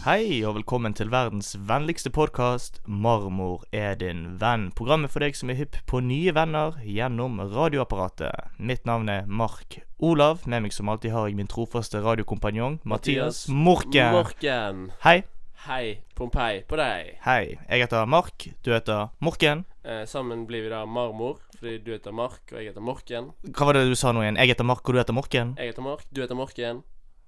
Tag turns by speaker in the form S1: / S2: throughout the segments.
S1: Hei, og velkommen til verdens vennligste podkast, 'Marmor er din venn'. Programmet for deg som er hypp på nye venner gjennom radioapparatet. Mitt navn er Mark Olav. Med meg som alltid har jeg min trofaste radiokompanjong Mathias Morken.
S2: Morken.
S1: Hei.
S2: Hei, Pompeii, på deg.
S1: Hei. Jeg heter Mark. Du heter Morken.
S2: Eh, sammen blir vi da marmor, fordi du heter Mark, og jeg heter Morken.
S1: Hva var det du sa nå igjen? Jeg heter Mark, og du heter Morken?
S2: Jeg heter Mark, du heter Morken.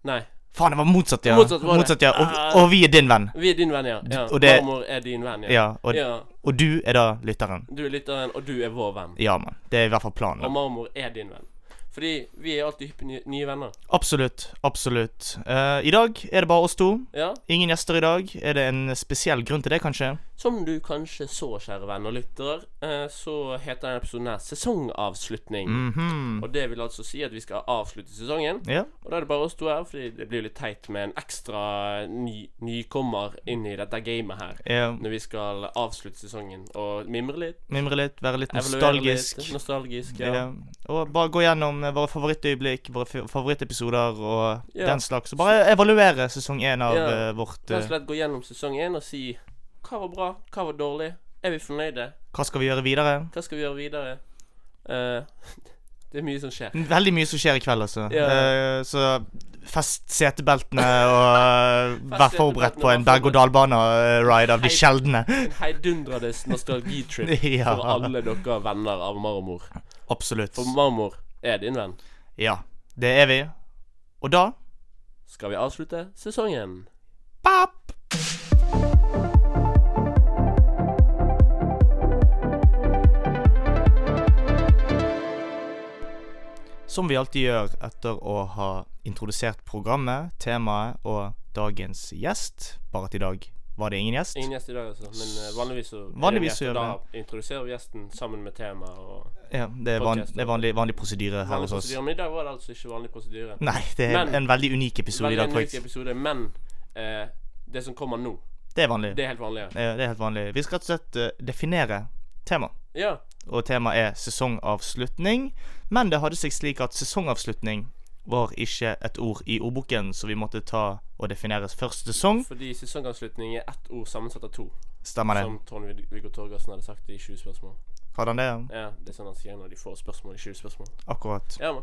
S2: Nei,
S1: Faen, det var motsatt, ja.
S2: Motsatt var det.
S1: ja. Og, og vi er din venn.
S2: vi er din venn, ja. ja.
S1: og det-
S2: Marmor er din venn, ja.
S1: Ja. Og,
S2: Ja,
S1: og du er da lytteren.
S2: Du er lytteren, og du er vår venn.
S1: Ja, mann. Det er i hvert fall planen.
S2: Og marmor er din venn. Fordi vi er alltid hypp på nye, nye venner.
S1: Absolutt. Absolutt. Eh, I dag er det bare oss to.
S2: Ja,
S1: Ingen gjester i dag. Er det en spesiell grunn til det, kanskje?
S2: Som du kanskje så, kjære venn og lyttere, eh, så heter denne episoden her Sesongavslutning.
S1: Mhm.
S2: Og det vil altså si at vi skal avslutte sesongen.
S1: Ja.
S2: Og da er det bare oss to her, fordi det blir jo litt teit med en ekstra ny, nykommer inn i dette gamet her.
S1: ja.
S2: Når vi skal avslutte sesongen og mimre litt.
S1: Mimre litt, være litt
S2: evaluere
S1: nostalgisk.
S2: Litt, nostalgisk,
S1: ja.
S2: ja.
S1: Og bare gå gjennom eh, våre favorittøyeblikk, våre f- favorittepisoder og
S2: Ja.
S1: den slags. Og bare evaluere sesong én av
S2: Ja.
S1: eh, vårt
S2: Rett og
S1: eh,
S2: slett gå gjennom sesong én og si hva var bra, hva var dårlig, er vi fornøyde,
S1: Hva skal vi gjøre videre?
S2: hva skal vi gjøre videre? Eh, det er mye som skjer.
S1: Veldig mye som skjer i kveld, altså.
S2: Ja.
S1: Eh, så fest setebeltene og eh, vær forberedt på en
S2: Fest setebeltene, vær
S1: berg-og-dal-bane-ride av de
S2: Hei.
S1: sjeldne.
S2: En heidundrende nostalgitrip
S1: ja,
S2: for alle dere venner av marmor.
S1: absolutt.
S2: For marmor er din venn.
S1: Ja, det er vi. Og da
S2: Skal vi avslutte sesongen?
S1: Pap! Som vi alltid gjør etter å ha introdusert programmet, temaet og dagens gjest Bare at i dag var det ingen gjest.
S2: Ingen gjest i dag, altså. Men eh, vanligvis så er det en
S1: Vanligvis
S2: gjest,
S1: så gjør
S2: og
S1: vi
S2: Da introduserer vi gjesten sammen med temaet og
S1: Ja, det er, van,
S2: Podcast.
S1: det er vanlig, vanlig prosedyre her
S2: vanlig
S1: hos oss.
S2: prosedyre. Men i dag var det altså ikke vanlig prosedyre.
S1: Nei, det er
S2: Men-
S1: en veldig unik episode i
S2: Veldig
S1: dag,
S2: unik
S1: faktisk.
S2: episode, men eh, det som kommer nå,
S1: Det er vanlig.
S2: det er helt vanlig. ja.
S1: Eh, Det er helt vanlig. Vi skal rett og slett eh, definere temaet.
S2: Ja.
S1: og temaet er sesongavslutning. Men det hadde seg slik at sesongavslutning var ikke et ord i ordboken, så vi måtte ta og definere først sesong.
S2: Fordi sesongavslutning er ett ord sammensatt av to,
S1: Stemmer det?
S2: som Trond-Viggo Torgersen hadde sagt i 20 spørsmål.
S1: Hadde han det?
S2: Ja, Det er sånn han sier når de får spørsmål i 20 spørsmål.
S1: Akkurat.
S2: Ja, man.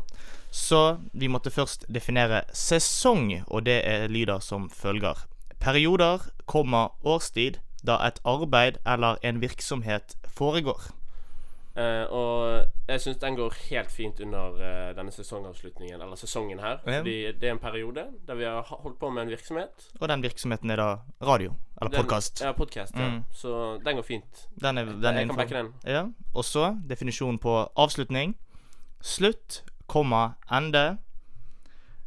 S1: Så vi måtte først definere sesong, og det er lyder som følger. Perioder, komma, årstid da et arbeid eller en virksomhet foregår.
S2: Eh, og jeg syns den går helt fint under eh, denne sesongavslutningen, eller sesongen her.
S1: Ja.
S2: Fordi det er en periode der vi har holdt på med en virksomhet.
S1: Og den virksomheten er da radio, eller
S2: Den-
S1: podkast.
S2: Ja, podcast, ja.
S1: Mm.
S2: Så den går fint.
S1: Den er, den er
S2: Jeg kan
S1: innenfor.
S2: backe den.
S1: Ja, og så definisjonen på avslutning. Slutt, komma, ende.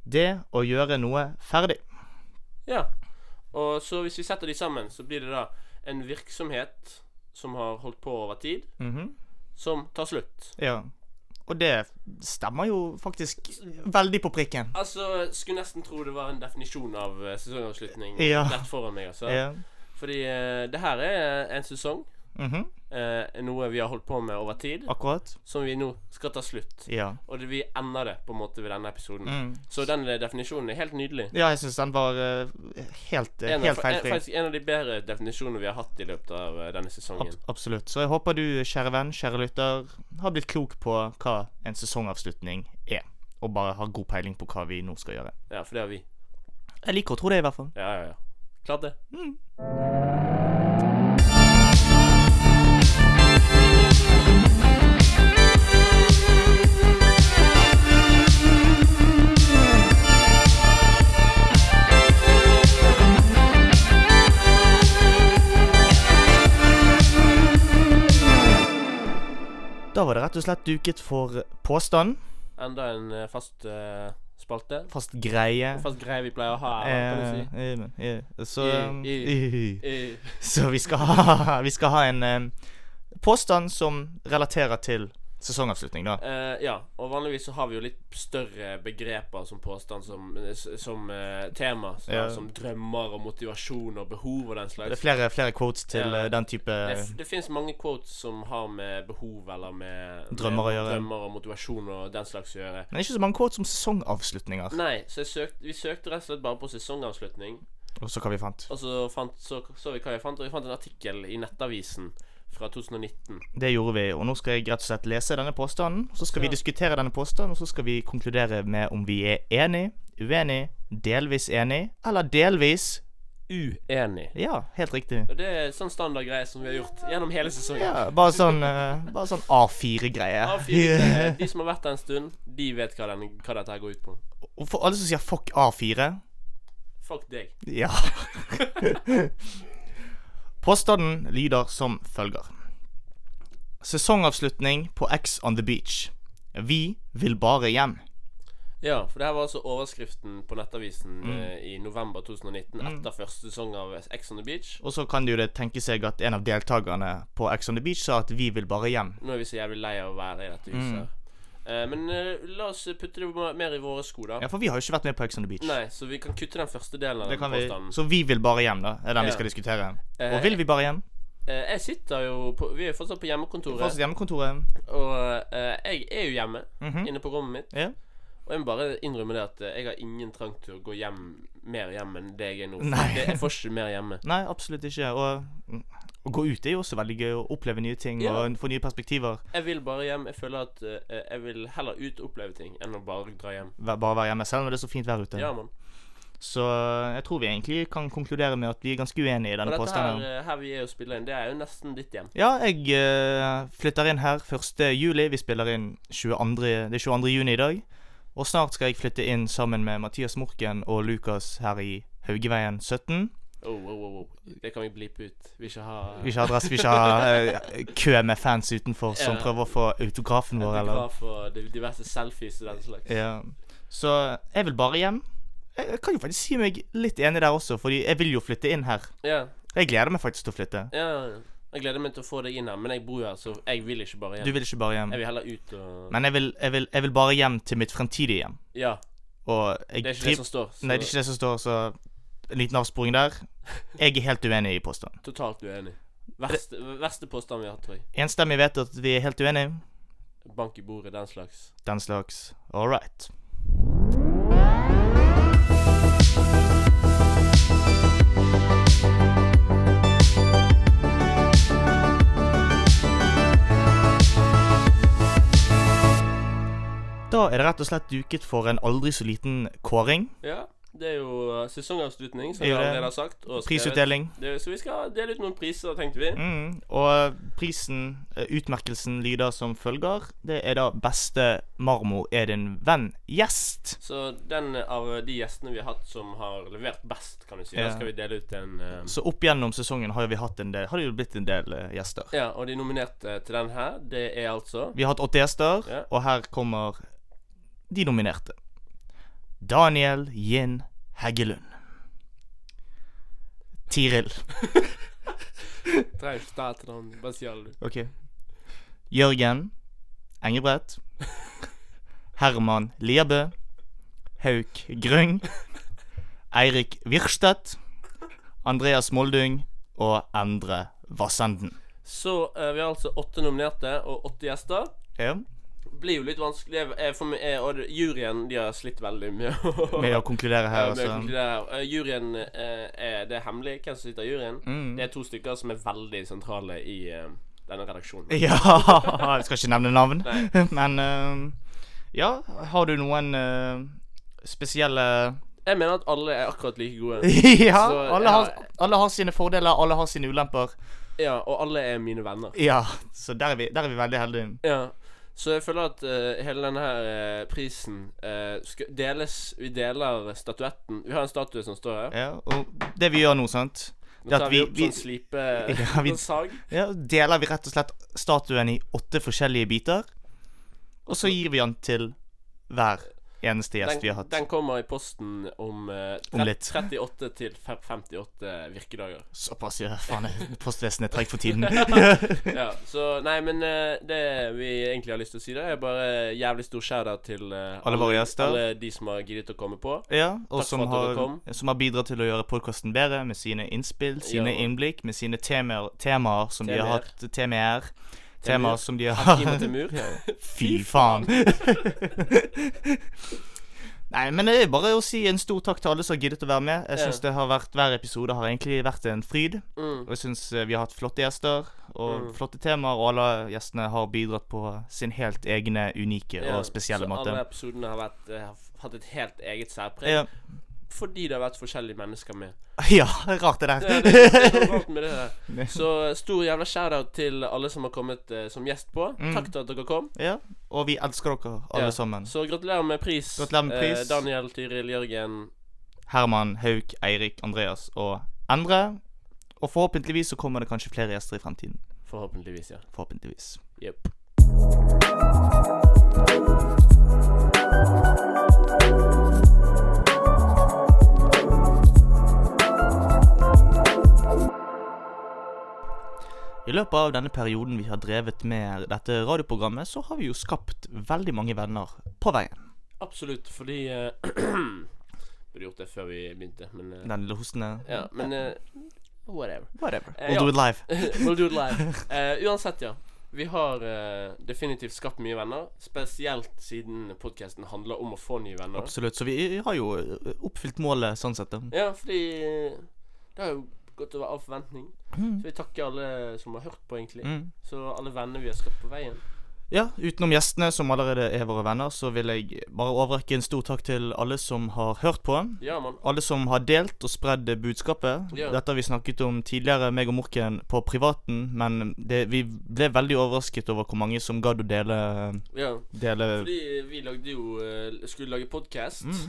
S1: Det å gjøre noe ferdig.
S2: Ja. Og så hvis vi setter de sammen, så blir det da en virksomhet som har holdt på over tid,
S1: Mhm,
S2: som tar slutt.
S1: Ja. Og det stemmer jo faktisk veldig på prikken.
S2: Altså, skulle nesten tro det var en definisjon av eh, sesongavslutning
S1: Ja.
S2: rett foran meg, altså.
S1: Ja.
S2: Fordi eh, det her er en sesong,
S1: mhm,
S2: eh, noe vi har holdt på med over tid,
S1: Akkurat.
S2: som vi nå skal ta slutt.
S1: Ja.
S2: Og det, vi ender det på en måte ved denne episoden.
S1: Mm.
S2: Så den eh, definisjonen er helt nydelig.
S1: Ja, jeg syns den var eh, helt, eh,
S2: En
S1: helt
S2: av, en,
S1: feilfri.
S2: faktisk en av de bedre definisjonene vi har hatt i løpet av eh, denne sesongen.
S1: Ab absolutt. Så jeg håper du, kjære venn, kjære lytter, har blitt klok på hva en sesongavslutning er. Og bare har god peiling på hva vi nå skal gjøre.
S2: Ja, for det har vi.
S1: Jeg liker å tro det, i hvert fall.
S2: Ja, ja, ja. Klart det.
S1: Da var det rett og slett duket for påstand.
S2: Enda en eh, fast eh, spalte.
S1: Fast greie.
S2: En fast greie vi pleier å ha her, kan du si.
S1: Eh, eh, eh, Så
S2: I-
S1: eh,
S2: Eh,
S1: Så vi skal ha, vi skal ha en eh, påstand som relaterer til sesongavslutning, da.
S2: eh, ja, og vanligvis så har vi jo litt større begreper som påstand som, eh, s- som eh, tema. Sånn,
S1: Ja.
S2: Som drømmer og motivasjon og behov og den
S1: Det er
S2: slags.
S1: flere, flere quotes til
S2: Ja.
S1: eh, den type
S2: Det, f- det fins mange quotes som har med behov eller med
S1: Drømmer å
S2: med
S1: gjøre.
S2: Drømmer og motivasjon og den slags å gjøre.
S1: Men ikke så mange quotes om sesongavslutninger.
S2: Nei, så jeg søkte, vi søkte rett og slett bare på sesongavslutning.
S1: Og så hva vi fant.
S2: Og så fant, så, så vi hva jeg fant, og jeg fant en artikkel i Nettavisen fra 2019.
S1: Det gjorde vi, og nå skal jeg rett og slett lese denne påstanden. og Så skal
S2: Ja.
S1: vi diskutere denne påstanden, og så skal vi konkludere med om vi er enig, uenig, delvis enig, eller delvis
S2: Uenig.
S1: Ja, helt riktig.
S2: Og det er sånn standard greie som vi har gjort gjennom hele sesongen.
S1: Ja, bare sånn, eh, bare sånn A4-greie.
S2: Av fire greier. De som har vært der en stund, de vet hva, den, hva dette her går ut på.
S1: Og for alle som sier fuck A4
S2: Fuck deg.
S1: Ja. Påstanden lyder som følger. Sesongavslutning på X on the beach. Vi vil bare hjem.
S2: Ja, for det her var altså overskriften på Nettavisen
S1: Mm.
S2: eh, i november 2019, etter første sesong av Ex on the Beach.
S1: Og så kan det jo det tenke seg at en av deltakerne på X on the beach sa at vi vil bare hjem.
S2: Nå er vi så jævlig lei av å være i dette
S1: Mm.
S2: huset. her. Eh, men eh, la oss putte det ma- mer i våre sko, da.
S1: Ja, for vi har jo ikke vært med på X on the beach.
S2: Nei, så vi kan kutte den første delen av
S1: Det
S2: den
S1: kan vi.
S2: påstanden.
S1: Så vi vil bare hjem, da, er den vi
S2: Ja.
S1: skal diskutere.
S2: Eh,
S1: Og vil vi bare hjem?
S2: Eh, jeg sitter jo på Vi er jo fortsatt på hjemmekontoret.
S1: Fortsatt hjemmekontoret.
S2: Og eh, jeg er jo hjemme,
S1: Mhm.
S2: inne på rommet mitt.
S1: Ja.
S2: Og jeg må bare innrømme det at eh, jeg har ingen trang til å gå hjem mer hjem enn det jeg er nå.
S1: Nei.
S2: Det, jeg får ikke mer hjemme.
S1: Nei, absolutt ikke. Og mm, å gå ut er jo også veldig gøy. Å oppleve nye ting
S2: Ja.
S1: og få nye perspektiver.
S2: Jeg vil bare hjem. Jeg føler at eh, jeg vil heller ut og oppleve ting enn å bare dra hjem.
S1: Væ- Bare være hjemme, selv om det er så fint vær ute.
S2: Ja, mann.
S1: Så eh, jeg tror vi egentlig kan konkludere med at vi er ganske uenige i
S2: Og
S1: denne
S2: dette her,
S1: påstanden.
S2: eh, her vi er og spiller inn, det er jo nesten ditt hjem.
S1: Ja, jeg eh, flytter inn her 1. juli. Vi spiller inn 22, det er 22. juni i dag. Og snart skal jeg flytte inn sammen med Mathias Morken og Lukas her i Haugeveien 17.
S2: Oh, oh, oh, oh. Det kan vi blipe ut. Vi ikke har eh,
S1: Vi ikke har adresse, vi ikke har eh, kø med fans utenfor som
S2: Ja.
S1: prøver å få autografen vår, eller
S2: autograf og de- diverse selfies og den slags.
S1: ja. Så jeg vil bare hjem. Jeg jeg kan jo faktisk si meg litt enig der også, fordi jeg vil jo flytte inn her.
S2: Ja,
S1: Jeg gleder meg faktisk til å flytte.
S2: ja, ja. Jeg gleder meg til å få deg inn her, men jeg bor jo her, så jeg vil ikke bare hjem.
S1: Du vil ikke bare hjem.
S2: Jeg vil heller ut og
S1: Men jeg vil, jeg vil, jeg vil bare hjem til mitt fremtidige hjem.
S2: Ja,
S1: Og
S2: det er
S1: jeg
S2: ikke det
S1: triv...
S2: som står. Så
S1: Nei, det er ikke det som står, så en liten avsporing der. Jeg er helt uenig i påstanden.
S2: totalt uenig. Verste, verste påstand vi har hatt, tror jeg.
S1: Enstemmig vet at vi er helt uenige.
S2: Bank i bordet, den slags.
S1: Den slags. All right. Da er det rett og slett duket for en aldri så liten kåring.
S2: Ja, det er jo eh, sesongavslutning, som
S1: Det
S2: vi
S1: er det.
S2: allerede har sagt. Og skrevet.
S1: Prisutdeling.
S2: Det, så vi skal dele ut noen priser, tenkte vi.
S1: Mm, og prisen, eh, utmerkelsen, lyder som følger. Det er da 'Beste marmor er din venn'-gjest.
S2: Så den av de gjestene vi har hatt som har levert best, kan du si,
S1: Ja.
S2: da skal vi dele ut en eh,
S1: Så opp gjennom sesongen har jo vi hatt en del, har det jo blitt en del eh, gjester.
S2: Ja, og de nominerte til den her, det er altså
S1: Vi har hatt åtte gjester,
S2: Ja.
S1: og her kommer de nominerte. Daniel Yin Heggelund. Tiril.
S2: Trenger ikke ta etter navnet, bare si alle, du.
S1: Ok. Jørgen Engebrett. Herman Lierbø. Hauk Grøng. Eirik Wirstedt. Andreas Moldung. Og Endre Vassenden.
S2: Så eh, vi har altså åtte nominerte og åtte gjester.
S1: Ja,
S2: Blir jo litt vanskelig jeg, jeg, for meg, jeg, og det- Juryen de har slitt veldig med å
S1: med å konkludere her,
S2: med å
S1: altså.
S2: konkludere. Eh, Juryen eh, er det er hemmelig hvem som sitter i juryen.
S1: Mm.
S2: Det er to stykker som er veldig sentrale i eh, denne redaksjonen.
S1: Ja Jeg skal ikke nevne navn, men eh, Ja, har du noen eh, spesielle
S2: Jeg mener at alle er akkurat like gode.
S1: Ja,
S2: Så,
S1: alle
S2: ja.
S1: har, alle har sine fordeler, alle har sine ulemper.
S2: Ja, og alle er mine venner.
S1: Ja, så der er vi, der er vi veldig heldige.
S2: Ja, så jeg føler at eh, hele denne her eh, prisen eh, skal deles Vi deler statuetten. Vi har en statue som står her.
S1: Ja, og det vi gjør nå, sant
S2: Nå tar
S1: at
S2: vi
S1: vi-
S2: opp
S1: vi-
S2: sånn slipe
S1: Ja, vi-
S2: sånn sag.
S1: ja, Deler vi rett og slett statuen i åtte forskjellige biter Og så gir vi den til hver eneste gjest vi har hatt.
S2: den kommer i posten om, eh, tre-
S1: Om litt.
S2: 38 til fe- 58 virkedager.
S1: Såpass, ja. Faen, jeg- postvesenet er tregt for tiden.
S2: Ja, så Nei, men eh, det vi egentlig har lyst til å si, da, er bare jævlig stor shout-out til eh,
S1: Alle våre gjester.
S2: Alle de som har giddet å komme på.
S1: ja, og
S2: Takk
S1: som
S2: for at dere
S1: har, som har bidratt til å gjøre podkasten bedre med sine innspill, sine
S2: Ja.
S1: innblikk, med sine temaer, temaer som de har
S2: Temaer.
S1: hatt Temaer. Temaer som de
S2: Inn
S1: har
S2: til mur.
S1: Fy faen. Nei, men det er bare å si en stor takk til alle som har giddet å være med. Jeg
S2: Ja.
S1: synes det har vært, Hver episode har egentlig vært en fryd.
S2: Mm.
S1: Og jeg syns vi har hatt flotte gjester og
S2: Mm.
S1: flotte temaer, og alle gjestene har bidratt på sin helt egne, unike
S2: Ja,
S1: og spesielle
S2: så
S1: måte.
S2: alle episodene har vært, eh, har hatt et helt eget særpreg.
S1: Ja.
S2: Fordi det har vært forskjellige mennesker med.
S1: ja, rart det der.
S2: Det, det, det er noe rart med det
S1: Ne.
S2: der. Så eh, stor jævla shout-out til alle som har kommet eh, som gjest på.
S1: Mm.
S2: Takk til at dere kom.
S1: Ja, og vi elsker dere alle
S2: Ja.
S1: sammen.
S2: Så gratulerer med pris,
S1: Gratulerer med pris.
S2: Eh, Daniel, Tyril, Jørgen.
S1: Herman, Hauk, Eirik, Andreas og Endre. Og forhåpentligvis så kommer det kanskje flere gjester i fremtiden.
S2: Forhåpentligvis, ja.
S1: Forhåpentligvis.
S2: Jepp.
S1: I løpet av denne perioden vi har drevet med dette radioprogrammet, så har vi jo skapt veldig mange venner på veien.
S2: Absolutt, fordi eh, Burde gjort det før vi begynte, men eh,
S1: Den lille hosten der.
S2: Ja, men eh, whatever.
S1: Whatever.
S2: Eh,
S1: We'll
S2: ja.
S1: do it live.
S2: we'll do it live. Eh, uansett, ja. Vi har eh, definitivt skapt mye venner. Spesielt siden podkasten handler om å få nye venner.
S1: Absolutt. Så vi har jo eh, oppfylt målet sånn sett. da.
S2: Ja, fordi eh, det har jo gått over all forventning.
S1: Mm.
S2: Så vi takker alle som har hørt på, egentlig.
S1: Mm.
S2: Så alle venner vi har skapt på veien.
S1: Ja, utenom gjestene som allerede er våre venner, så vil jeg bare overrekke en stor takk til alle som har hørt på.
S2: Ja, mann.
S1: Alle som har delt og spredd budskapet.
S2: Ja.
S1: Dette har vi snakket om tidligere, meg og Morken, på privaten, men det, vi ble veldig overrasket over hvor mange som gadd å dele,
S2: Ja.
S1: dele
S2: Fordi vi lagde jo eh, Skulle lage podkast.
S1: Mm.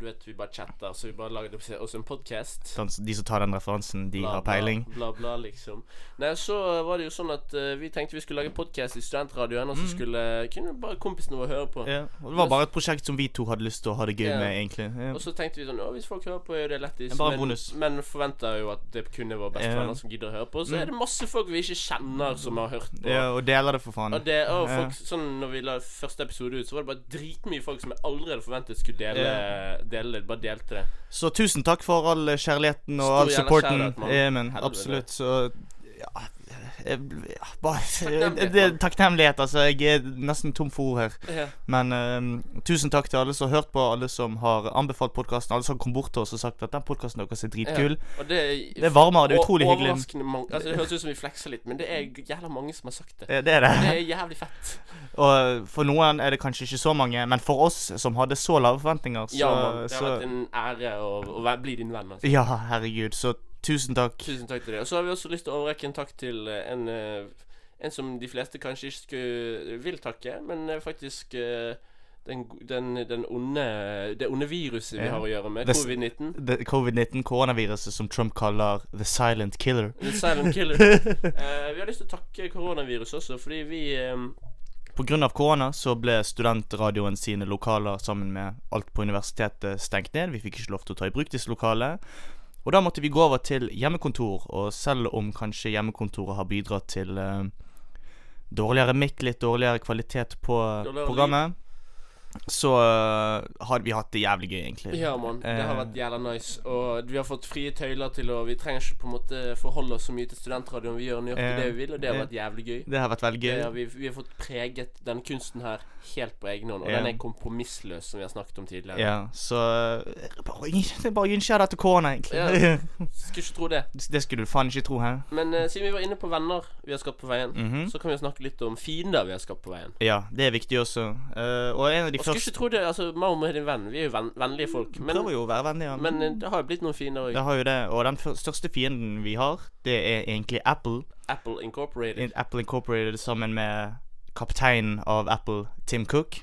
S2: du vet, vi bare chatter, så vi bare lagde oss en podkast.
S1: Sånn, De som tar den referansen, de har peiling.
S2: Bla, bla, bla, liksom. Nei, så var det jo sånn at eh, vi tenkte vi skulle lage podkast i studentradioen, og så skulle kunne bare kompisene våre høre på.
S1: Mm. Ja, og Det var bare et prosjekt som vi to hadde lyst til å ha det gøy
S2: Ja.
S1: med, egentlig. Ja.
S2: Og så tenkte vi sånn Å, hvis folk hører på, er jo det
S1: Det
S2: lættis.
S1: er bare
S2: Men,
S1: bonus.
S2: men forventer jo at det kun er våre
S1: Ja.
S2: beste
S1: Mm.
S2: venner som gidder å høre på. Så er det masse folk vi ikke kjenner, som har hørt på.
S1: Ja, og deler det, for faen.
S2: Og det, og
S1: Ja.
S2: folk, sånn, når vi la første episode ut, så var det bare dritmye folk som jeg aldri hadde forventet skulle dele, dele det. Bare delte det.
S1: Så tusen takk for all kjærligheten og
S2: Stor
S1: all
S2: jævla
S1: supporten.
S2: kjærlighet, mann.
S1: Ja, men
S2: Helvete.
S1: absolutt, så ja, jeg, ja, bare,
S2: Takknemlighet,
S1: det,
S2: mann.
S1: takknemlighet, altså. Jeg er nesten tom for ord her.
S2: Ja.
S1: Men eh, tusen takk til alle som har hørt på, alle som har anbefalt podkasten, alle som kom bort til oss og sagt at den podkasten deres er dritkul.
S2: Og det,
S1: Det varmer, det er utrolig
S2: og,
S1: hyggelig.
S2: overraskende mange- Altså, det høres ut som vi flekser litt, men det er jævla mange som har sagt det.
S1: Eh, Det er det.
S2: Det er jævlig fett.
S1: Og for noen er det kanskje ikke så mange, men for oss som hadde så lave forventninger, så
S2: ja, mann. Det har
S1: så,
S2: vært en ære å, å være, bli din venn. Altså.
S1: ja herregud. Så tusen takk.
S2: Tusen takk til det. Og så har vi også lyst til å overrekke en takk til eh, en eh, En som de fleste kanskje ikke skulle, vil takke, men eh, faktisk eh, den, go- den, den onde, det onde viruset vi
S1: Ja.
S2: har å gjøre med,
S1: Det s-
S2: covid-19.
S1: Det- Covid-19, koronaviruset som Trump kaller the silent killer.
S2: The silent killer. Eh, vi har lyst til å takke koronaviruset også, fordi vi eh,
S1: På grunn av korona så ble studentradioen sine lokaler sammen med alt på universitetet stengt ned. Vi fikk ikke lov til å ta i bruk disse lokalene. Og da måtte vi gå over til hjemmekontor, og selv om kanskje hjemmekontoret har bidratt til eh, dårligere mic, litt dårligere kvalitet på
S2: Dårligere
S1: programmet, så eh, har vi hatt det jævlig gøy, egentlig.
S2: Ja, mann. Det har
S1: Eh.
S2: vært jævla nice. Og vi har fått frie tøyler til å Vi trenger ikke på en måte forholde oss så mye til studentradioen. Vi gjør nøyaktig
S1: Eh.
S2: det vi vil, og det har
S1: Eh.
S2: vært jævlig gøy.
S1: Det har vært veldig gøy.
S2: Ja, vi, vi har fått preget denne kunsten her helt på egen hånd, og
S1: Ja.
S2: den er kompromissløs, som vi har snakket om tidligere.
S1: Ja, så eh, bare, Det er bare å gi en skjær til korona, egentlig.
S2: Ja. Skulle ikke tro det.
S1: Det skulle du faen ikke tro, hæ?
S2: Men eh, siden vi var inne på venner vi har skapt på veien,
S1: Mhm.
S2: så kan vi jo snakke litt om fiender vi har skapt på veien.
S1: Ja, det er viktig også. Eh, og en av de
S2: Og skulle
S1: første
S2: ikke tro det, altså Marmor er din venn, vi er jo ven vennlige folk, men,
S1: Prøver jo Mm, å være vennlig, ja.
S2: men eh, det har jo blitt noen fiender òg.
S1: det har jo det. Og den fyr- største fienden vi har, det er egentlig Apple.
S2: Apple Incorporated.
S1: In- Apple Incorporated sammen med kapteinen av Apple, Tim Cook.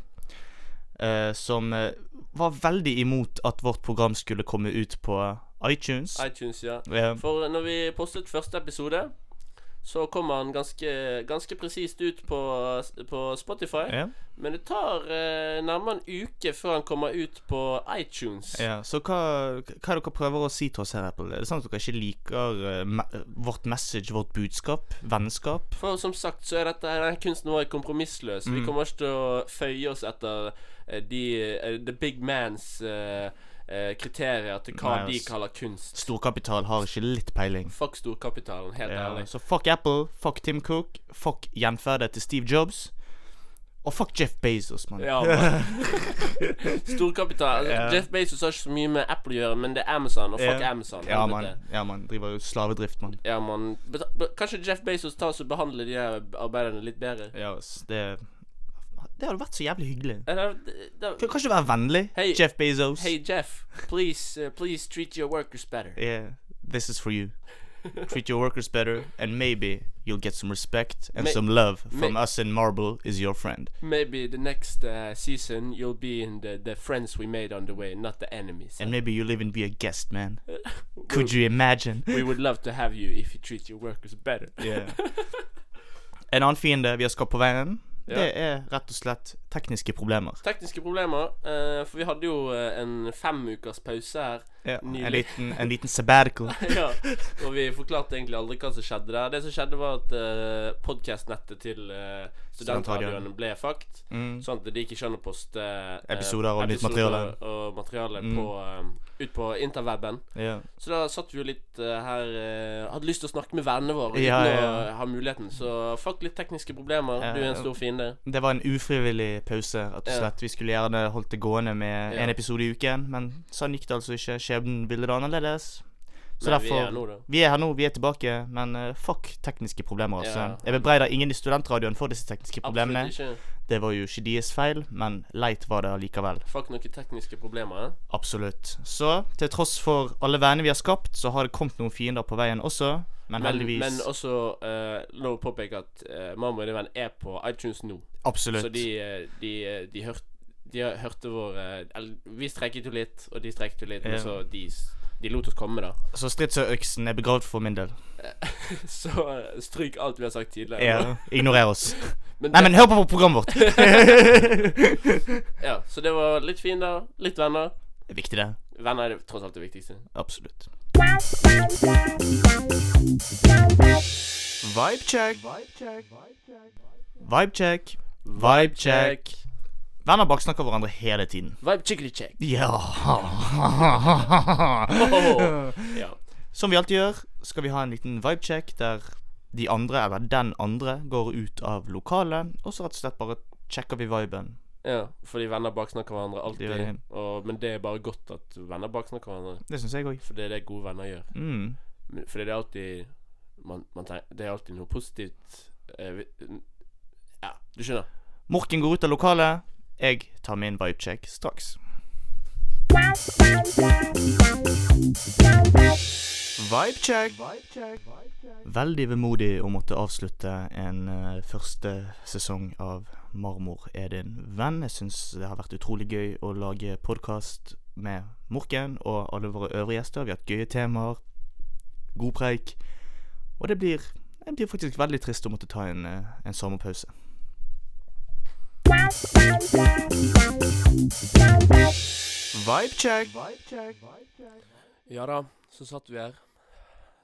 S1: eh, som eh, var veldig imot at vårt program skulle komme ut på iTunes.
S2: iTunes, ja.
S1: Eh,
S2: For når vi postet første episode, så kommer han ganske, ganske presist ut på, på Spotify.
S1: Ja.
S2: Men det tar eh, nærmere en uke før han kommer ut på iTunes.
S1: Ja, så hva, hva er det dere prøver å si til oss her, Apple? Er det sant at dere ikke liker eh, me vårt message, vårt budskap, vennskap?
S2: For som sagt så er dette denne kunsten vår er kompromissløs.
S1: Mm.
S2: Vi kommer ikke til å føye oss etter eh, de, eh, the big mans eh, eh, kriterier til
S1: Nei,
S2: hva
S1: altså.
S2: de
S1: ass.
S2: kaller kunst.
S1: Storkapital har ikke litt peiling.
S2: Fuck storkapitalen, helt
S1: Ja,
S2: ærlig.
S1: så fuck Apple, fuck Tim Cook, fuck gjenferdet til Steve Jobs. Og fuck Jeff Bezos, mann.
S2: Ja, man. Storkapital. Altså,
S1: Ja.
S2: Jeff Bezos har ikke så mye med Apple å gjøre, men det er Amazon, og fuck
S1: Ja.
S2: Amazon.
S1: Ja,
S2: helvete.
S1: mann. Ja, man. Driver jo slavedrift, mann.
S2: Ja, man. Beta- be- Kanskje Jeff Bezos tar oss og behandler de her arbeiderne litt bedre?
S1: Ja, ass, det Det hadde vært så jævlig hyggelig.
S2: Eller, det-
S1: Kan
S2: det-
S1: kan ikke du være vennlig,
S2: Hei.
S1: Jeff Bezos?
S2: Hey Jeff, please, uh, please treat your workers better.
S1: Yeah, this is for you. Treat your workers better, and maybe you'll get some respect and
S2: May-
S1: some love from
S2: may-
S1: us in Marble is your friend.
S2: Maybe the next uh, season you'll be in the, the friends we made on the way, not the enemies.
S1: And maybe you'll even be a guest, man. Could you imagine?
S2: we would love to have you if you treat your workers better.
S1: Yeah. En annen fiende vi har skapt på veien,
S2: Ja.
S1: det er rett og slett tekniske problemer.
S2: Tekniske problemer, eh, for vi hadde jo eh, en fem ukers pause her.
S1: Ja, en,
S2: Nydelig.
S1: liten, en liten sabbatical.
S2: ja, og vi forklarte egentlig aldri hva som skjedde der. Det som skjedde, var at uh, podkastnettet til eh, studentradioene ble fucked.
S1: Mm.
S2: Sånn at de ikke skjønner å poste eh,
S1: Episoder og nytt materiale.
S2: og materiale
S1: Mm.
S2: på, eh, ut på interweben.
S1: Ja.
S2: Så da satt vi jo litt eh, her eh, Hadde lyst til å snakke med vennene våre
S1: Ja,
S2: uten
S1: ja.
S2: å ha muligheten. Så fuck litt tekniske problemer.
S1: Ja,
S2: Du er en
S1: ja.
S2: stor fiende.
S1: Det var en ufrivillig pause, rett og
S2: Ja.
S1: slett. Vi skulle gjerne holdt det gående med
S2: Ja.
S1: en episode i uken, men sånn gikk det altså ikke. Skjebnen ville det annerledes. Så
S2: Men vi
S1: derfor
S2: er nå, da.
S1: Vi er her nå, vi er tilbake, men eh, fuck tekniske problemer, altså.
S2: Ja.
S1: Jeg bebreider ingen i studentradioen for disse tekniske problemene.
S2: Absolutt ikke.
S1: Det var jo ikke deres feil, men leit var det allikevel.
S2: Fuck noen tekniske problemer. eh.
S1: Absolutt. Så til tross for alle venner vi har skapt, så har det kommet noen fiender på veien også, men
S2: Men,
S1: heldigvis
S2: men også uh, lov å påpeke at uh, Mamma og din venn er på iTunes nå.
S1: Absolutt.
S2: Så de, eh, de, eh, de, hørte, de hørte vår eh, eller, Vi strekket jo litt, og de strekket jo litt,
S1: Ja.
S2: men så de, s- de lot oss komme, da.
S1: Så stridsøksen er begravd for min del.
S2: Så eh, stryk alt vi har sagt tidligere.
S1: Ja. Ignorer oss.
S2: Men
S1: Nei,
S2: det,
S1: men hør på programmet vårt!
S2: ja, så det var litt fiender, litt venner.
S1: Det er viktig, det.
S2: Venner er det, tross alt det viktigste.
S1: Absolutt. Vibecheck. Vibecheck. Vibecheck. Venner baksnakker hverandre hele tiden.
S2: Vibe chickity check.
S1: Ja
S2: Åhå. Ja.
S1: Som vi alltid gjør, skal vi ha en liten vibecheck der de andre, eller den andre, går ut av lokalet, og så rett og slett bare sjekker vi viben.
S2: ja. Fordi venner baksnakker hverandre
S1: Det gjør
S2: alltid.
S1: de.
S2: Og, men det er bare godt at venner baksnakker hverandre.
S1: Det syns jeg òg.
S2: For det er det gode venner gjør.
S1: Mm.
S2: Men- Fordi det er alltid man, man tenker, Det er alltid noe positivt eh, vi- Ja, du skjønner.
S1: Morken går ut av lokalet. Jeg tar min vibecheck straks. Vibecheck. Veldig vemodig å måtte avslutte en eh, første sesong av Marmor er din venn. Jeg syns det har vært utrolig gøy å lage podkast med Morken og alle våre øvrige gjester. Vi har hatt gøye temaer, god preik. Og det blir, det blir faktisk veldig trist å måtte ta en, eh, en sommerpause. Vibecheck.
S2: Ja da, så satt vi her.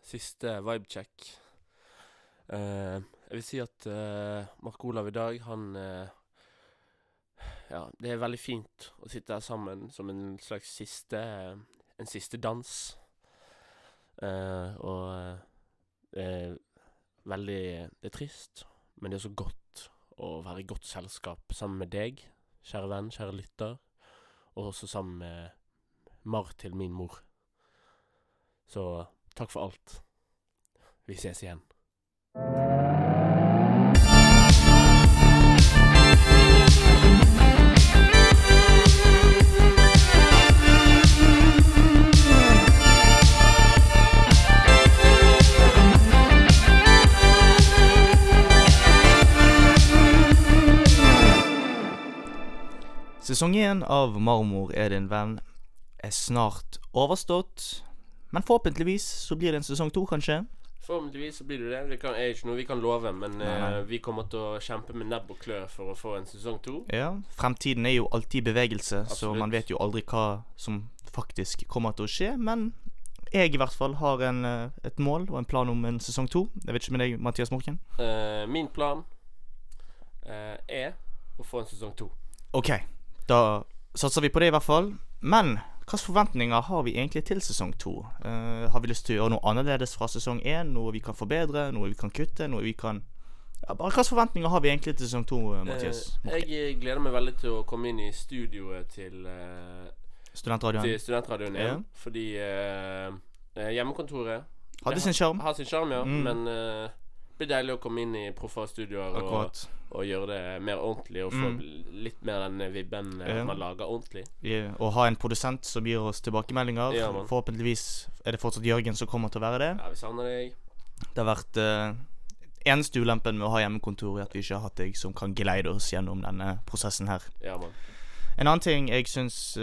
S2: Siste vibecheck. Eh, jeg vil si at eh, Mark Olav i dag, han eh, Ja, det er veldig fint å sitte her sammen som en slags siste eh, En siste dans. Eh, og eh, det er veldig Det er trist, men det er så godt å være i godt selskap sammen med deg, kjære venn, kjære lytter, og også sammen med Mar til min mor. Så takk for alt. Vi ses igjen.
S1: Sesong én av Marmor er din venn er snart overstått. Men forhåpentligvis så blir det en sesong to, kanskje.
S2: Forhåpentligvis så blir det det. Det kan, er ikke noe vi kan love, men
S1: Nei, nei.
S2: eh, vi kommer til å kjempe med nebb og klør for å få en sesong to.
S1: Ja, Fremtiden er jo alltid i bevegelse, så
S2: Absolutt.
S1: man vet jo aldri hva som faktisk kommer til å skje. Men jeg i hvert fall har en, eh, et mål og en plan om en sesong to. Jeg vet ikke med deg, Mathias Morken.
S2: Eh, min plan eh, er å få en sesong to.
S1: OK, da satser vi på det i hvert fall. Men hvilke forventninger har vi egentlig til sesong to? Eh, har vi lyst til å gjøre noe annerledes fra sesong én? Noe vi kan forbedre? Noe vi kan kutte? Noe vi kan ja, bare Hvilke forventninger har vi egentlig til sesong to, eh, Mathias?
S2: Eh,
S1: Morken?
S2: jeg gleder meg veldig til å komme inn i studioet til eh,
S1: Studentradioen
S2: Til studentradioen igjen.
S1: Ja.
S2: Fordi eh, eh, hjemmekontoret
S1: hadde sin sjarm.
S2: har sin sjarm, ja.
S1: Mm.
S2: Men eh, det blir deilig å komme inn i proffe studioer og,
S1: Akkurat.
S2: og gjøre det mer ordentlig. Og få
S1: Mm.
S2: bl- litt mer den vibben eh,
S1: Ja.
S2: man lager ordentlig.
S1: Vi- Å ha en produsent som gir oss tilbakemeldinger.
S2: Ja, man.
S1: Forhåpentligvis er det fortsatt Jørgen som kommer til å være det.
S2: Ja, vi savner deg.
S1: Det har vært eh, eneste ulempen med å ha hjemmekontor, er at vi ikke har hatt deg som kan geleide oss gjennom denne prosessen her.
S2: Ja, mann.
S1: En annen ting jeg syns eh,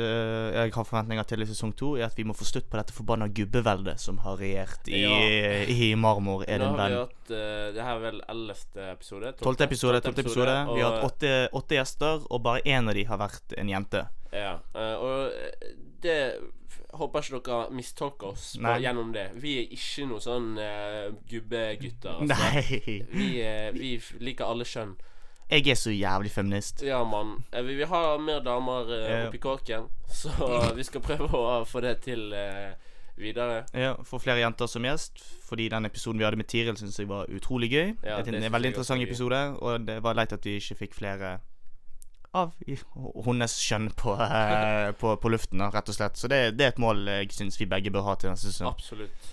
S1: jeg har forventninger til i sesong to, er at vi må få slutt på dette forbanna gubbeveldet som har regjert i,
S2: Ja.
S1: i Marmor. Er
S2: Nå
S1: det en
S2: har vi
S1: venn?
S2: hatt eh, Det her er vel ellevte episode?
S1: Tolvte episode,
S2: Tolvte
S1: tolvte episode. Vi har hatt
S2: og-
S1: åtte, åtte gjester, og bare én av de har vært en jente.
S2: Ja, eh, og eh, det f- håper ikke dere mistolker oss på,
S1: Nei.
S2: gjennom det. Vi er ikke noe sånn eh, gubbegutter. Altså.
S1: Nei!
S2: Vi, eh, vi f- liker alle kjønn.
S1: Jeg er så jævlig feminist.
S2: Ja, mann. Eh, vi vil ha mer damer eh,
S1: Ja.
S2: oppi kåken, så vi skal prøve å få det til eh, videre.
S1: Ja, Få flere jenter som gjest, fordi den episoden vi hadde med Tiril, syns jeg var utrolig gøy.
S2: Ja,
S1: jeg synes
S2: det
S1: det er
S2: synes
S1: En veldig
S2: jeg også
S1: interessant
S2: er gøy.
S1: episode, og det var leit at vi ikke fikk flere av i- hennes skjønn på, eh, på, på luften, da, rett og slett. Så det, det er et mål jeg syns vi begge bør ha til neste sesong.
S2: Absolutt.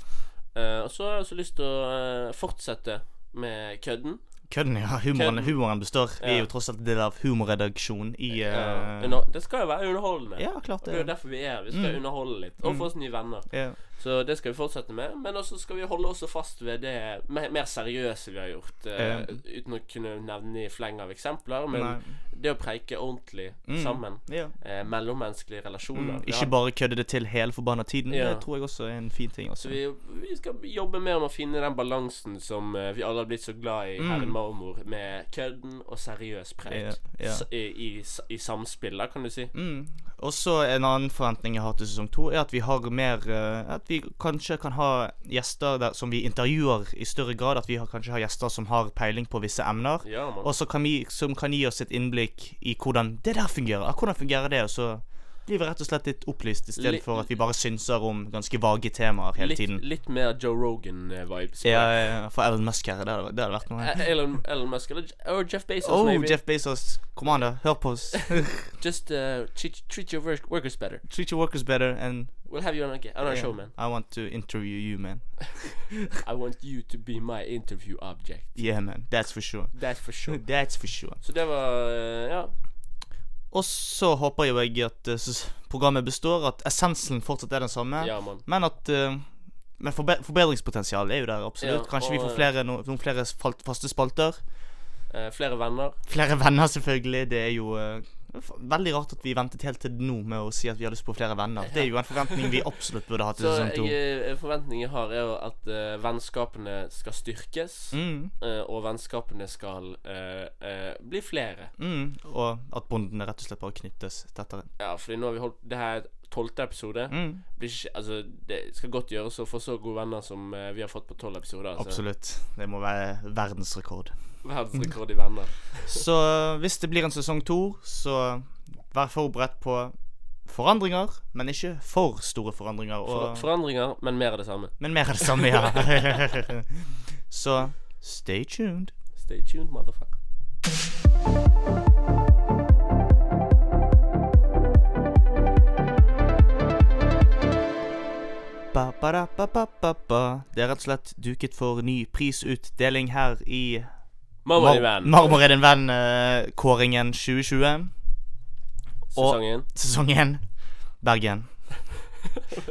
S2: Eh, og så har jeg også lyst til å eh, fortsette med kødden.
S1: Kødden, ja. Humoren,
S2: Kødden.
S1: humoren består. Vi er
S2: Ja.
S1: jo tross alt del av humorredaksjon i
S2: Eh,
S1: eh,
S2: under- det skal jo være underholdende.
S1: Ja, klart
S2: Det er jo
S1: det.
S2: derfor vi er her. Vi skal
S1: Mm.
S2: underholde litt og
S1: Mm.
S2: få oss nye venner.
S1: Ja.
S2: Så det skal vi fortsette med. Men også skal vi holde oss fast ved det mer, mer seriøse vi har gjort. eh,
S1: Ja.
S2: Uten å kunne nevne i fleng av eksempler. Men
S1: Nei.
S2: det å preike ordentlig
S1: Mm.
S2: sammen.
S1: Ja.
S2: Eh, mellommenneskelige relasjoner.
S1: Mm.
S2: Ja.
S1: Ikke bare kødde det til hele forbanna tiden.
S2: Ja.
S1: Det tror jeg også er en fin ting. Også.
S2: Så vi, vi skal jobbe mer med å finne den balansen som eh, vi alle har blitt så glad i her i
S1: Mm.
S2: Marmor, med kødden og seriøs preik.
S1: Ja, ja.
S2: S- I, i, s- I samspill, da, kan du si.
S1: Mm. Og så en annen forventning jeg har til sesong to, er at vi har mer eh, At vi kanskje kan ha gjester der, som vi intervjuer i større grad. At vi har, kanskje har gjester som har peiling på visse emner.
S2: Ja, man.
S1: Og så kan vi, som kan gi oss et innblikk i hvordan det der fungerer. Ah, Hvordan fungerer det? Og så blir vi rett og slett litt opplyst,
S2: Litt-
S1: istedenfor at vi bare synser om ganske vage temaer hele
S2: Litt,
S1: tiden.
S2: litt mer Joe Rogan-vibes.
S1: Ja, ja, for Elon Musk her, det hadde, det hadde vært
S2: Eh,
S1: noe.
S2: Elon, Elon Musk eller J- or Jeff Bezos,
S1: Oh,
S2: maybe.
S1: Jeff Bezos. Kom an, da. Hør på oss.
S2: Just uh, treat, treat your work workers better.
S1: Treat your workers better and
S2: We'll have you on, a, on our
S1: yeah,
S2: show, man.
S1: I want to interview you, man.
S2: I want you to be my interview object.
S1: Yeah, man. That's for sure.
S2: That's for sure.
S1: That's for sure.
S2: Så det var eh, Ja.
S1: Og så håper jo jeg at eh, s- programmet består, at essensen fortsatt er den samme,
S2: Ja, mann.
S1: men at eh, men forbe forbedringspotensial er jo der, absolutt.
S2: Ja,
S1: Kanskje vi
S2: og,
S1: får flere, no, noen flere falt, faste spalter.
S2: Eh, flere venner.
S1: Flere venner, selvfølgelig. Det er jo eh, f- veldig rart at vi ventet helt til nå med å si at vi har lyst på flere venner. Det er jo en forventning vi absolutt burde ha til
S2: Så
S1: sesong
S2: jeg,
S1: to.
S2: eh, forventningen jeg har, er jo at eh, vennskapene skal styrkes.
S1: Mm,
S2: eh, og vennskapene skal eh, eh, bli flere.
S1: mm, og at bondene rett og slett bare knyttes tettere.
S2: Ja, fordi nå har vi holdt Det her er tolvte episode.
S1: Mm,
S2: Blir ikke, altså, det skal godt gjøres å få så gode venner som eh, vi har fått på tolv episoder. altså.
S1: absolutt. Det må være verdensrekord.
S2: Verdensrekord i venner.
S1: Så eh, hvis det blir en sesong to, så vær forberedt på forandringer, men ikke for store forandringer.
S2: For,
S1: Og,
S2: forandringer, men mer av det samme.
S1: men mer av det samme, ja. så stay tuned.
S2: Stay tuned, motherfucker.
S1: Ba, ba, da, ba, ba, ba, ba. Det er rett og slett duket for ny prisutdeling her i
S2: Mamma din venn.
S1: Marmor er din eh, venn-kåringen 2020.
S2: Sesongen.
S1: Sesong 1. Bergen.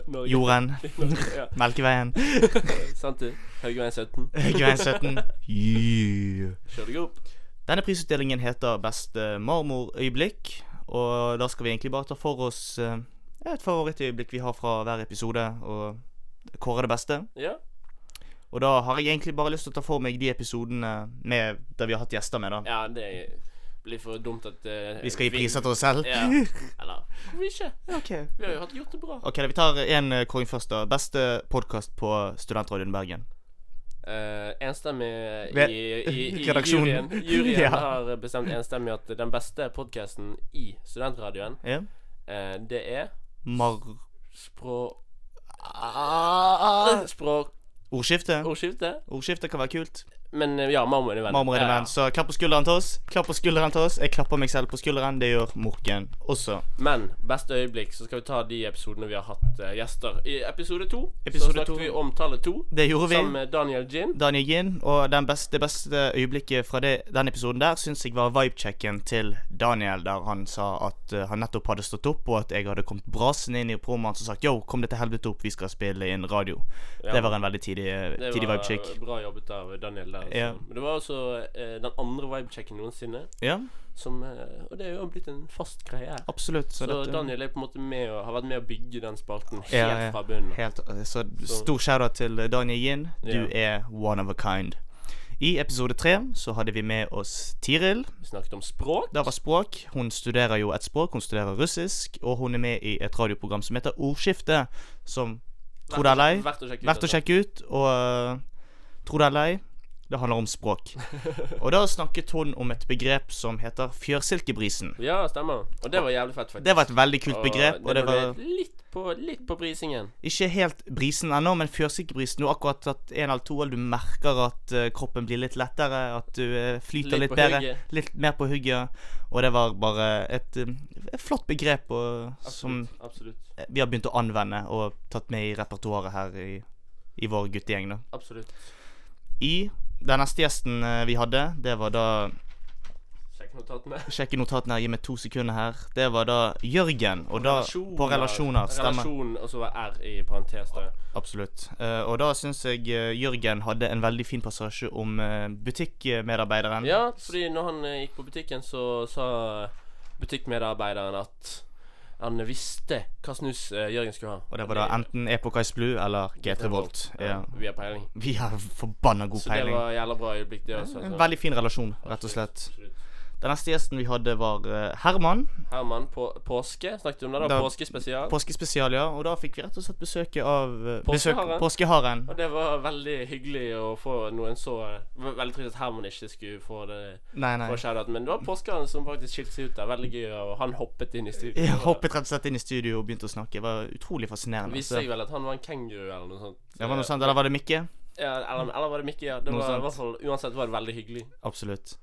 S2: Norge.
S1: Jorden.
S2: ja,
S1: Melkeveien.
S2: sant du. Haugeveien 17.
S1: Høgveien 17. Yeah.
S2: Kjør deg opp.
S1: Denne prisutdelingen heter Beste marmorøyeblikk, og da skal vi egentlig bare ta for oss eh, et favorittøyeblikk vi har fra hver episode, og kåre det beste.
S2: Ja.
S1: Og da har jeg egentlig bare lyst til å ta for meg de episodene med, der vi har hatt gjester med, da.
S2: Ja, det blir for dumt at eh,
S1: Vi skal gi priser til oss selv.
S2: Ja. Eller hvorfor ikke?
S1: OK.
S2: Vi har jo hatt gjort det bra.
S1: Ok, da, Vi tar én kåring først, da. Beste podkast på Studentradioen Bergen.
S2: Eh, enstemmig i,
S1: Ved-
S2: i, i
S1: redaksjonen.
S2: juryen. Juryen
S1: Ja.
S2: har bestemt enstemmig at den beste podkasten i studentradioen,
S1: Ja.
S2: eh, det er
S1: Mar...
S2: Språ...
S1: Ah.
S2: eh, Språkordskifte.
S1: Ordskifte. Ordskifte kan være kult.
S2: Men eh, ja, Marmor er venn.
S1: Marmor er det
S2: Ja, ja.
S1: venn, så klapp på skulderen til oss. Klapp på skulderen til oss. Jeg klapper meg selv på skulderen. Det gjør Morken også.
S2: Men beste øyeblikk, så skal vi ta de episodene vi har hatt eh, gjester. I episode to så
S1: Episode
S2: snakket
S1: to.
S2: vi om tallet to,
S1: Det gjorde vi.
S2: sammen med Daniel Gin.
S1: Daniel Ginn, og den beste, det beste øyeblikket fra det, den episoden der syns jeg var vibechecken til Daniel, der han sa at eh, han nettopp hadde stått opp, og at jeg hadde kommet brasende inn i promoen og sagt yo, kom deg til helvete opp, vi skal spille inn radio.
S2: Ja.
S1: Det var en veldig tidig,
S2: Det
S1: tidig
S2: var
S1: vibecheck.
S2: bra jobbet av Daniel der. altså.
S1: Ja.
S2: Men det var også eh, den andre vibechecken noensinne,
S1: Ja,
S2: som eh, Og det er jo blitt en fast greie her.
S1: absolutt.
S2: Så,
S1: Så, dette,
S2: Daniel er på en måte med og har vært med å bygge den spalten helt
S1: Ja, ja.
S2: fra bunnen.
S1: Helt, eh, så stor shout-out til eh, Daniel Ginn. Du er one of a kind. I episode tre så hadde vi med oss Tiril.
S2: Vi snakket om språk.
S1: Det var språk. Hun studerer jo et språk, hun studerer russisk, og hun er med i et radioprogram som heter Ordskifte, som Tror det er lei.
S2: Verdt å sjekke ut.
S1: Verdt å
S2: altså.
S1: sjekke ut, og øh, tror det er lei. Det handler om språk. Og da snakket hun om et begrep som heter fjørsilkebrisen.
S2: Ja, stemmer. Og det var jævlig fett, faktisk.
S1: Det var et veldig kult begrep, og det var
S2: litt på, litt på brisingen.
S1: ikke helt brisen ennå, men fjørsilkebrisen. Du har akkurat tatt en eller to, og du merker at øh, kroppen blir litt lettere, at du øh, flyter litt,
S2: på
S1: bedre.
S2: hugget.
S1: Litt mer på hugget. Og det var bare et, øh, et flott begrep og, som eh,
S2: Absolutt. Absolutt.
S1: vi har begynt å anvende og tatt med i repertoaret her i, i vår guttegjeng. da.
S2: absolutt.
S1: I den neste gjesten eh, vi hadde, det var da
S2: Sjekk notatene.
S1: Sjekke notatene her, gi meg to sekunder her. Det var da Jørgen, og da på relasjoner. Stemmer.
S2: Relasjon, og så var R i parentes der.
S1: Absolutt. Eh, og da syns jeg eh, Jørgen hadde en veldig fin passasje om eh, butikkmedarbeideren.
S2: Ja, fordi når han eh, gikk på butikken, så sa eh, butikkmedarbeideren at han visste hva snus eh, Jørgen skulle ha.
S1: Og det var da enten Epokais Blue eller G3 Volt. Ja.
S2: Vi har peiling.
S1: Vi har forbanna god
S2: Så det
S1: peiling.
S2: var jævla bra øyeblikk, det også.
S1: En
S2: altså.
S1: veldig fin relasjon, rett og slett.
S2: Absolutt.
S1: Den neste gjesten vi hadde, var eh, Herman.
S2: Herman, på, påske snakket vi om det. da,
S1: Da-
S2: Påskespesial.
S1: Påskespesial, ja. Og da fikk vi rett og slett besøk av eh, besøk,
S2: Påskeharen.
S1: Påskeharen.
S2: Og det var veldig hyggelig å få noen så eh, det var Veldig trist at Herman ikke skulle få det
S1: Nei, nei.
S2: få shoutout, men det var påskeharen som faktisk skilte seg ut der. Veldig gøy, og han hoppet inn i studio.
S1: Jeg
S2: og
S1: hoppet rett og slett inn i studio og begynte å snakke. Det var utrolig
S2: det
S1: fascinerende.
S2: Viste seg vel at han var en kenguru eller noe sånt.
S1: altså. det var noe sånt, Eller var det Mikke?
S2: Ja, eller, eller var det Mikke? Ja. Det
S1: Mm. Noe
S2: var, i
S1: sånt.
S2: hvert fall, uansett var det veldig hyggelig.
S1: Absolutt.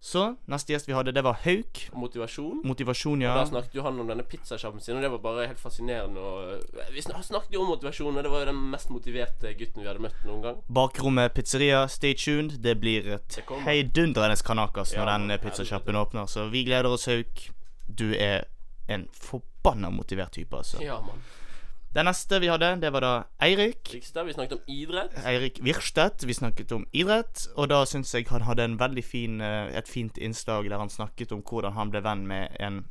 S1: Så, neste gjest vi hadde, det var Hauk.
S2: Motivasjon.
S1: Motivasjon, ja.
S2: Og Da snakket jo han om denne pizzasjappen sin, og det var bare helt fascinerende. Og vi snak- snakket jo om motivasjon, og det var jo den mest motiverte gutten vi hadde møtt noen gang.
S1: Bakrommet pizzeria, stay tuned. Det blir et
S2: Det kommer.
S1: heidundrende kanakas når
S2: Ja,
S1: den
S2: helvete.
S1: pizzasjappen åpner. Så vi gleder oss, Hauk. Du er en forbanna motivert type, altså.
S2: Ja, mann.
S1: Den neste vi hadde, det var da Eirik.
S2: Rikstad, vi snakket om idrett.
S1: Eirik Wirstedt. Vi snakket om idrett, og da syns jeg han hadde en veldig fin, eh, et fint innslag der han snakket om hvordan han ble venn med en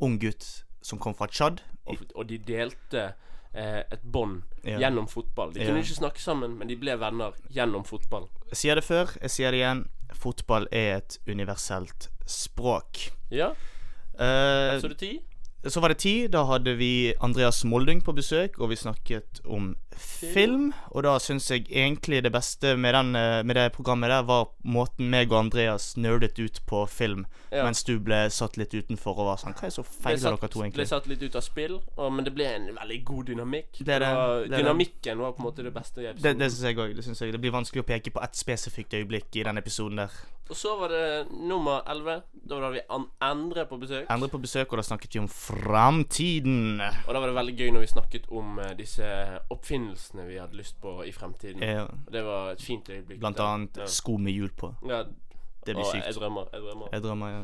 S1: ung gutt som kom fra Tsjad. I-
S2: Og, og de delte eh, et bånd
S1: Ja.
S2: gjennom fotball. De
S1: Ja.
S2: kunne ikke snakke sammen, men de ble venner gjennom fotball.
S1: Jeg sier det før, jeg sier det igjen. Fotball er et universelt språk.
S2: Ja,
S1: Eh,
S2: så det ti?
S1: så var det ti. Da hadde vi Andreas Moldung på besøk, og vi snakket om film. Og da syns jeg egentlig det beste med, den, eh, med det programmet der, var måten meg og Andreas nerdet ut på film.
S2: Ja.
S1: Mens du ble satt litt utenfor og var sånn Hva er så feil av dere to,
S2: ble
S1: egentlig?
S2: satt litt ut av spill, og, men det ble en veldig god dynamikk.
S1: Det er det,
S2: var,
S1: det er det.
S2: dynamikken var på en måte det beste. i
S1: Det,
S2: episoden.
S1: det syns jeg òg. Det, synes jeg. det blir vanskelig å peke på ett spesifikt øyeblikk i den episoden der.
S2: Og så var det nummer elleve. Da var det vi an Endre på besøk.
S1: Endre på besøk, og da snakket vi om framtiden.
S2: Og da var det veldig gøy når vi snakket om eh, disse oppfinnelsene vi hadde lyst på i fremtiden.
S1: Eh,
S2: Og Det var et fint øyeblikk.
S1: Blant
S2: der.
S1: annet sko med hjul på.
S2: Ja,
S1: Det blir
S2: og Jeg
S1: sykt.
S2: drømmer. Jeg drømmer.
S1: Jeg drømmer, ja.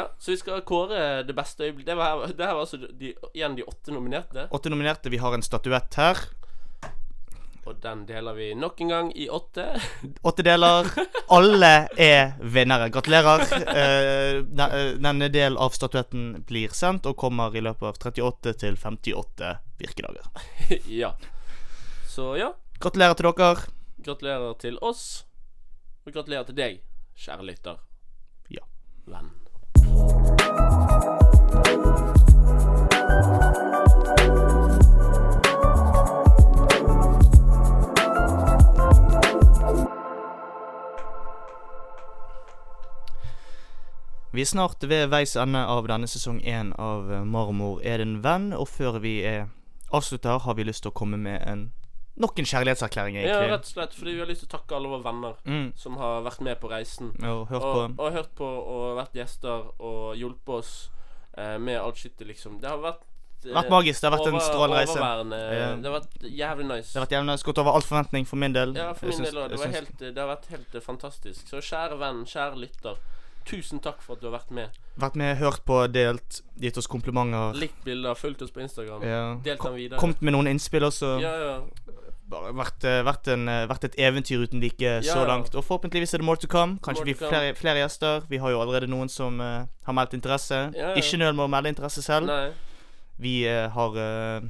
S2: Ja, så vi skal kåre det beste øyeblikk. Det, var, det her var altså de, igjen de åtte nominerte.
S1: Åtte nominerte. Vi har en statuett her.
S2: Og den deler vi nok en gang i åtte.
S1: Åtte deler. Alle er vinnere. Gratulerer. Eh, den- eh, Denne del av statuetten blir sendt og kommer i løpet av 38 til 58 virkedager.
S2: ja. Så ja,
S1: Gratulerer til dere.
S2: gratulerer til oss. Og gratulerer til deg, kjære lytter.
S1: Ja.
S2: Venn.
S1: Vi er snart ved veis ende av denne sesong én av Marmor er din venn, og før vi eh, avslutter, har vi lyst til å komme med en nok en kjærlighetserklæring,
S2: Ja,
S1: egentlig.
S2: rett og slett fordi vi har lyst til å takke alle våre venner
S1: Mm,
S2: som har vært med på reisen.
S1: og hørt på.
S2: Og, og hørt på og vært gjester og hjulpet oss eh, med alt shitet, liksom. Det har vært eh,
S1: Vært magisk. Det har vært en
S2: over-
S1: strålende reise.
S2: Overværende.
S1: Ja.
S2: Det har vært jævlig nice.
S1: Det har vært jævlig nice. Gått over all forventning for min del.
S2: Ja, for
S1: Jeg
S2: min
S1: syns-
S2: del òg. Det,
S1: jeg
S2: var
S1: syns-
S2: helt, eh, det har vært helt eh, fantastisk. Så kjære venn, kjære lytter, tusen takk for at du har vært med.
S1: Vært med, hørt på, delt, gitt oss komplimenter.
S2: Likt bilder, fulgt oss på Instagram.
S1: Ja.
S2: Delt den videre.
S1: Kommet med noen innspill også.
S2: Ja, ja.
S1: Bare Vært, eh, vært, en, eh, vært et eventyr uten like så
S2: ja.
S1: langt. Og forhåpentligvis er det more to come. Kanskje
S2: More
S1: vi
S2: to come.
S1: flere, flere gjester. Vi har jo allerede noen som eh, har meldt interesse.
S2: Ja, ja.
S1: Ikke nøl med å melde interesse selv.
S2: Nei.
S1: Vi eh, har eh,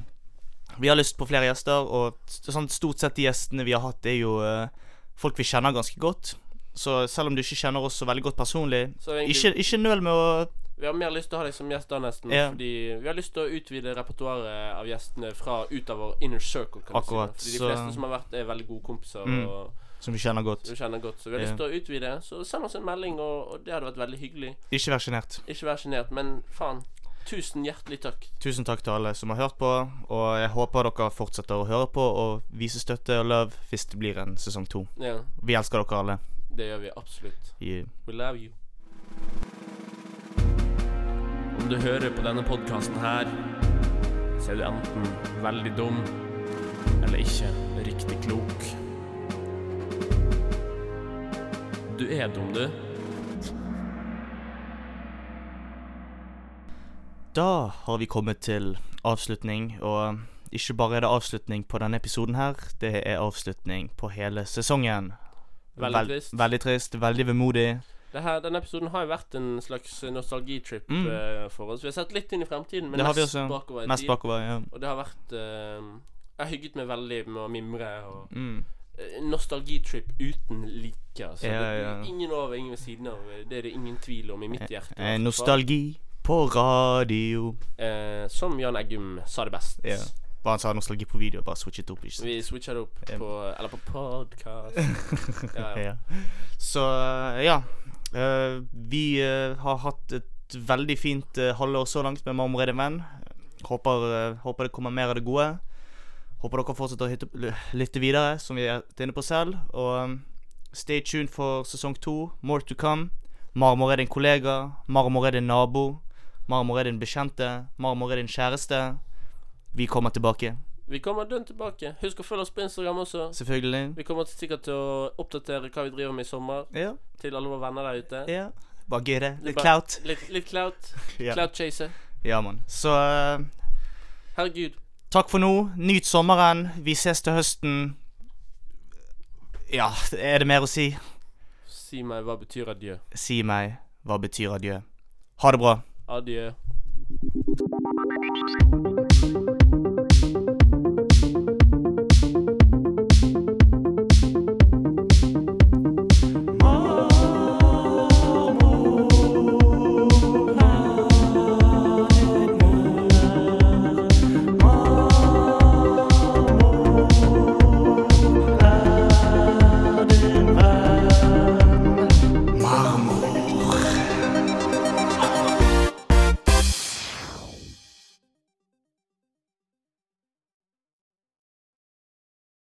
S1: Vi har lyst på flere gjester, og st- sånn, stort sett de gjestene vi har hatt, er jo eh, folk vi kjenner ganske godt. Så selv om du ikke kjenner oss så veldig godt personlig,
S2: Så egentlig,
S1: ikke, ikke nøl med å
S2: vi har mer lyst til å ha deg som gjest da, nesten.
S1: Ja.
S2: Fordi vi har lyst til å utvide repertoaret av gjestene fra ut av vår inner circle. Kan
S1: Akkurat,
S2: Du si. da. Fordi
S1: så-
S2: de fleste som har vært, er veldig gode kompiser.
S1: Mm.
S2: Og
S1: Som du kjenner godt.
S2: som vi kjenner godt Så vi har
S1: Ja.
S2: lyst til å utvide. Så send oss en melding, og, og det hadde vært veldig hyggelig.
S1: Ikke vær sjenert.
S2: Ikke vær sjenert, men faen. Tusen hjertelig takk.
S1: Tusen takk til alle som har hørt på, og jeg håper dere fortsetter å høre på og vise støtte og love hvis det blir en sesong to.
S2: Ja,
S1: Vi elsker dere alle.
S2: det gjør vi absolutt.
S1: Yeah.
S2: We love you. Om du hører på denne podkasten her, så er du enten veldig dum eller ikke riktig klok. Du er dum, du.
S1: Da har vi kommet til avslutning, og ikke bare er det avslutning på denne episoden her, det er avslutning på hele sesongen.
S2: Veldig trist.
S1: Veldig trist, veldig vemodig.
S2: Det her, denne episoden har jo vært en slags nostalgitrip
S1: Mm.
S2: eh, for oss. Vi har sett litt inn i fremtiden, men
S1: Det har vi
S2: mest
S1: også.
S2: bakover i
S1: Mest
S2: tid.
S1: bakover, ja.
S2: Og det har vært eh, Jeg har hygget meg veldig med å mimre og
S1: Mm.
S2: Eh, nostalgitrip uten like. Altså.
S1: Ja,
S2: Det-
S1: ja.
S2: Ingen over, ingen ved siden av. Det er det ingen tvil om i mitt hjerte. i
S1: Eh,
S2: hvert fall.
S1: Nostalgi på radio.
S2: Eh, som Jan Eggum sa det best.
S1: Ja. Bare han sa nostalgi på video, bare switchet opp. ikke sant?
S2: Vi switcha det opp
S1: Ja.
S2: på Eller på podkast. Ja, ja.
S1: Ja. Så ja. Eh, vi eh, har hatt et veldig fint eh, halvår så langt med Marmor er din venn. Håper, eh, håper det kommer mer av det gode. Håper dere fortsetter å hytte, l- lytte videre, som vi er inne på selv. Og um, stay tuned for sesong to. More to come. Marmor er din kollega. Marmor er din nabo. Marmor er din bekjente. Marmor er din kjæreste. Vi kommer tilbake,
S2: Vi kommer dønn tilbake. Husk å følge oss på Instagram også.
S1: selvfølgelig.
S2: Vi kommer til- sikkert til å oppdatere hva vi driver med i sommer,
S1: Ja,
S2: til alle våre venner der ute.
S1: ja. Bare gøy det. Litt
S2: Bare-
S1: clout.
S2: Litt, litt clout.
S1: Ja.
S2: Clout chaser.
S1: Ja, mann. Så eh,
S2: Herregud.
S1: takk for nå. Nyt sommeren. Vi ses til høsten. Ja, er det mer å si?
S2: Si meg hva betyr adjø.
S1: Si meg, hva betyr adjø? Ha det bra.
S2: Adjø.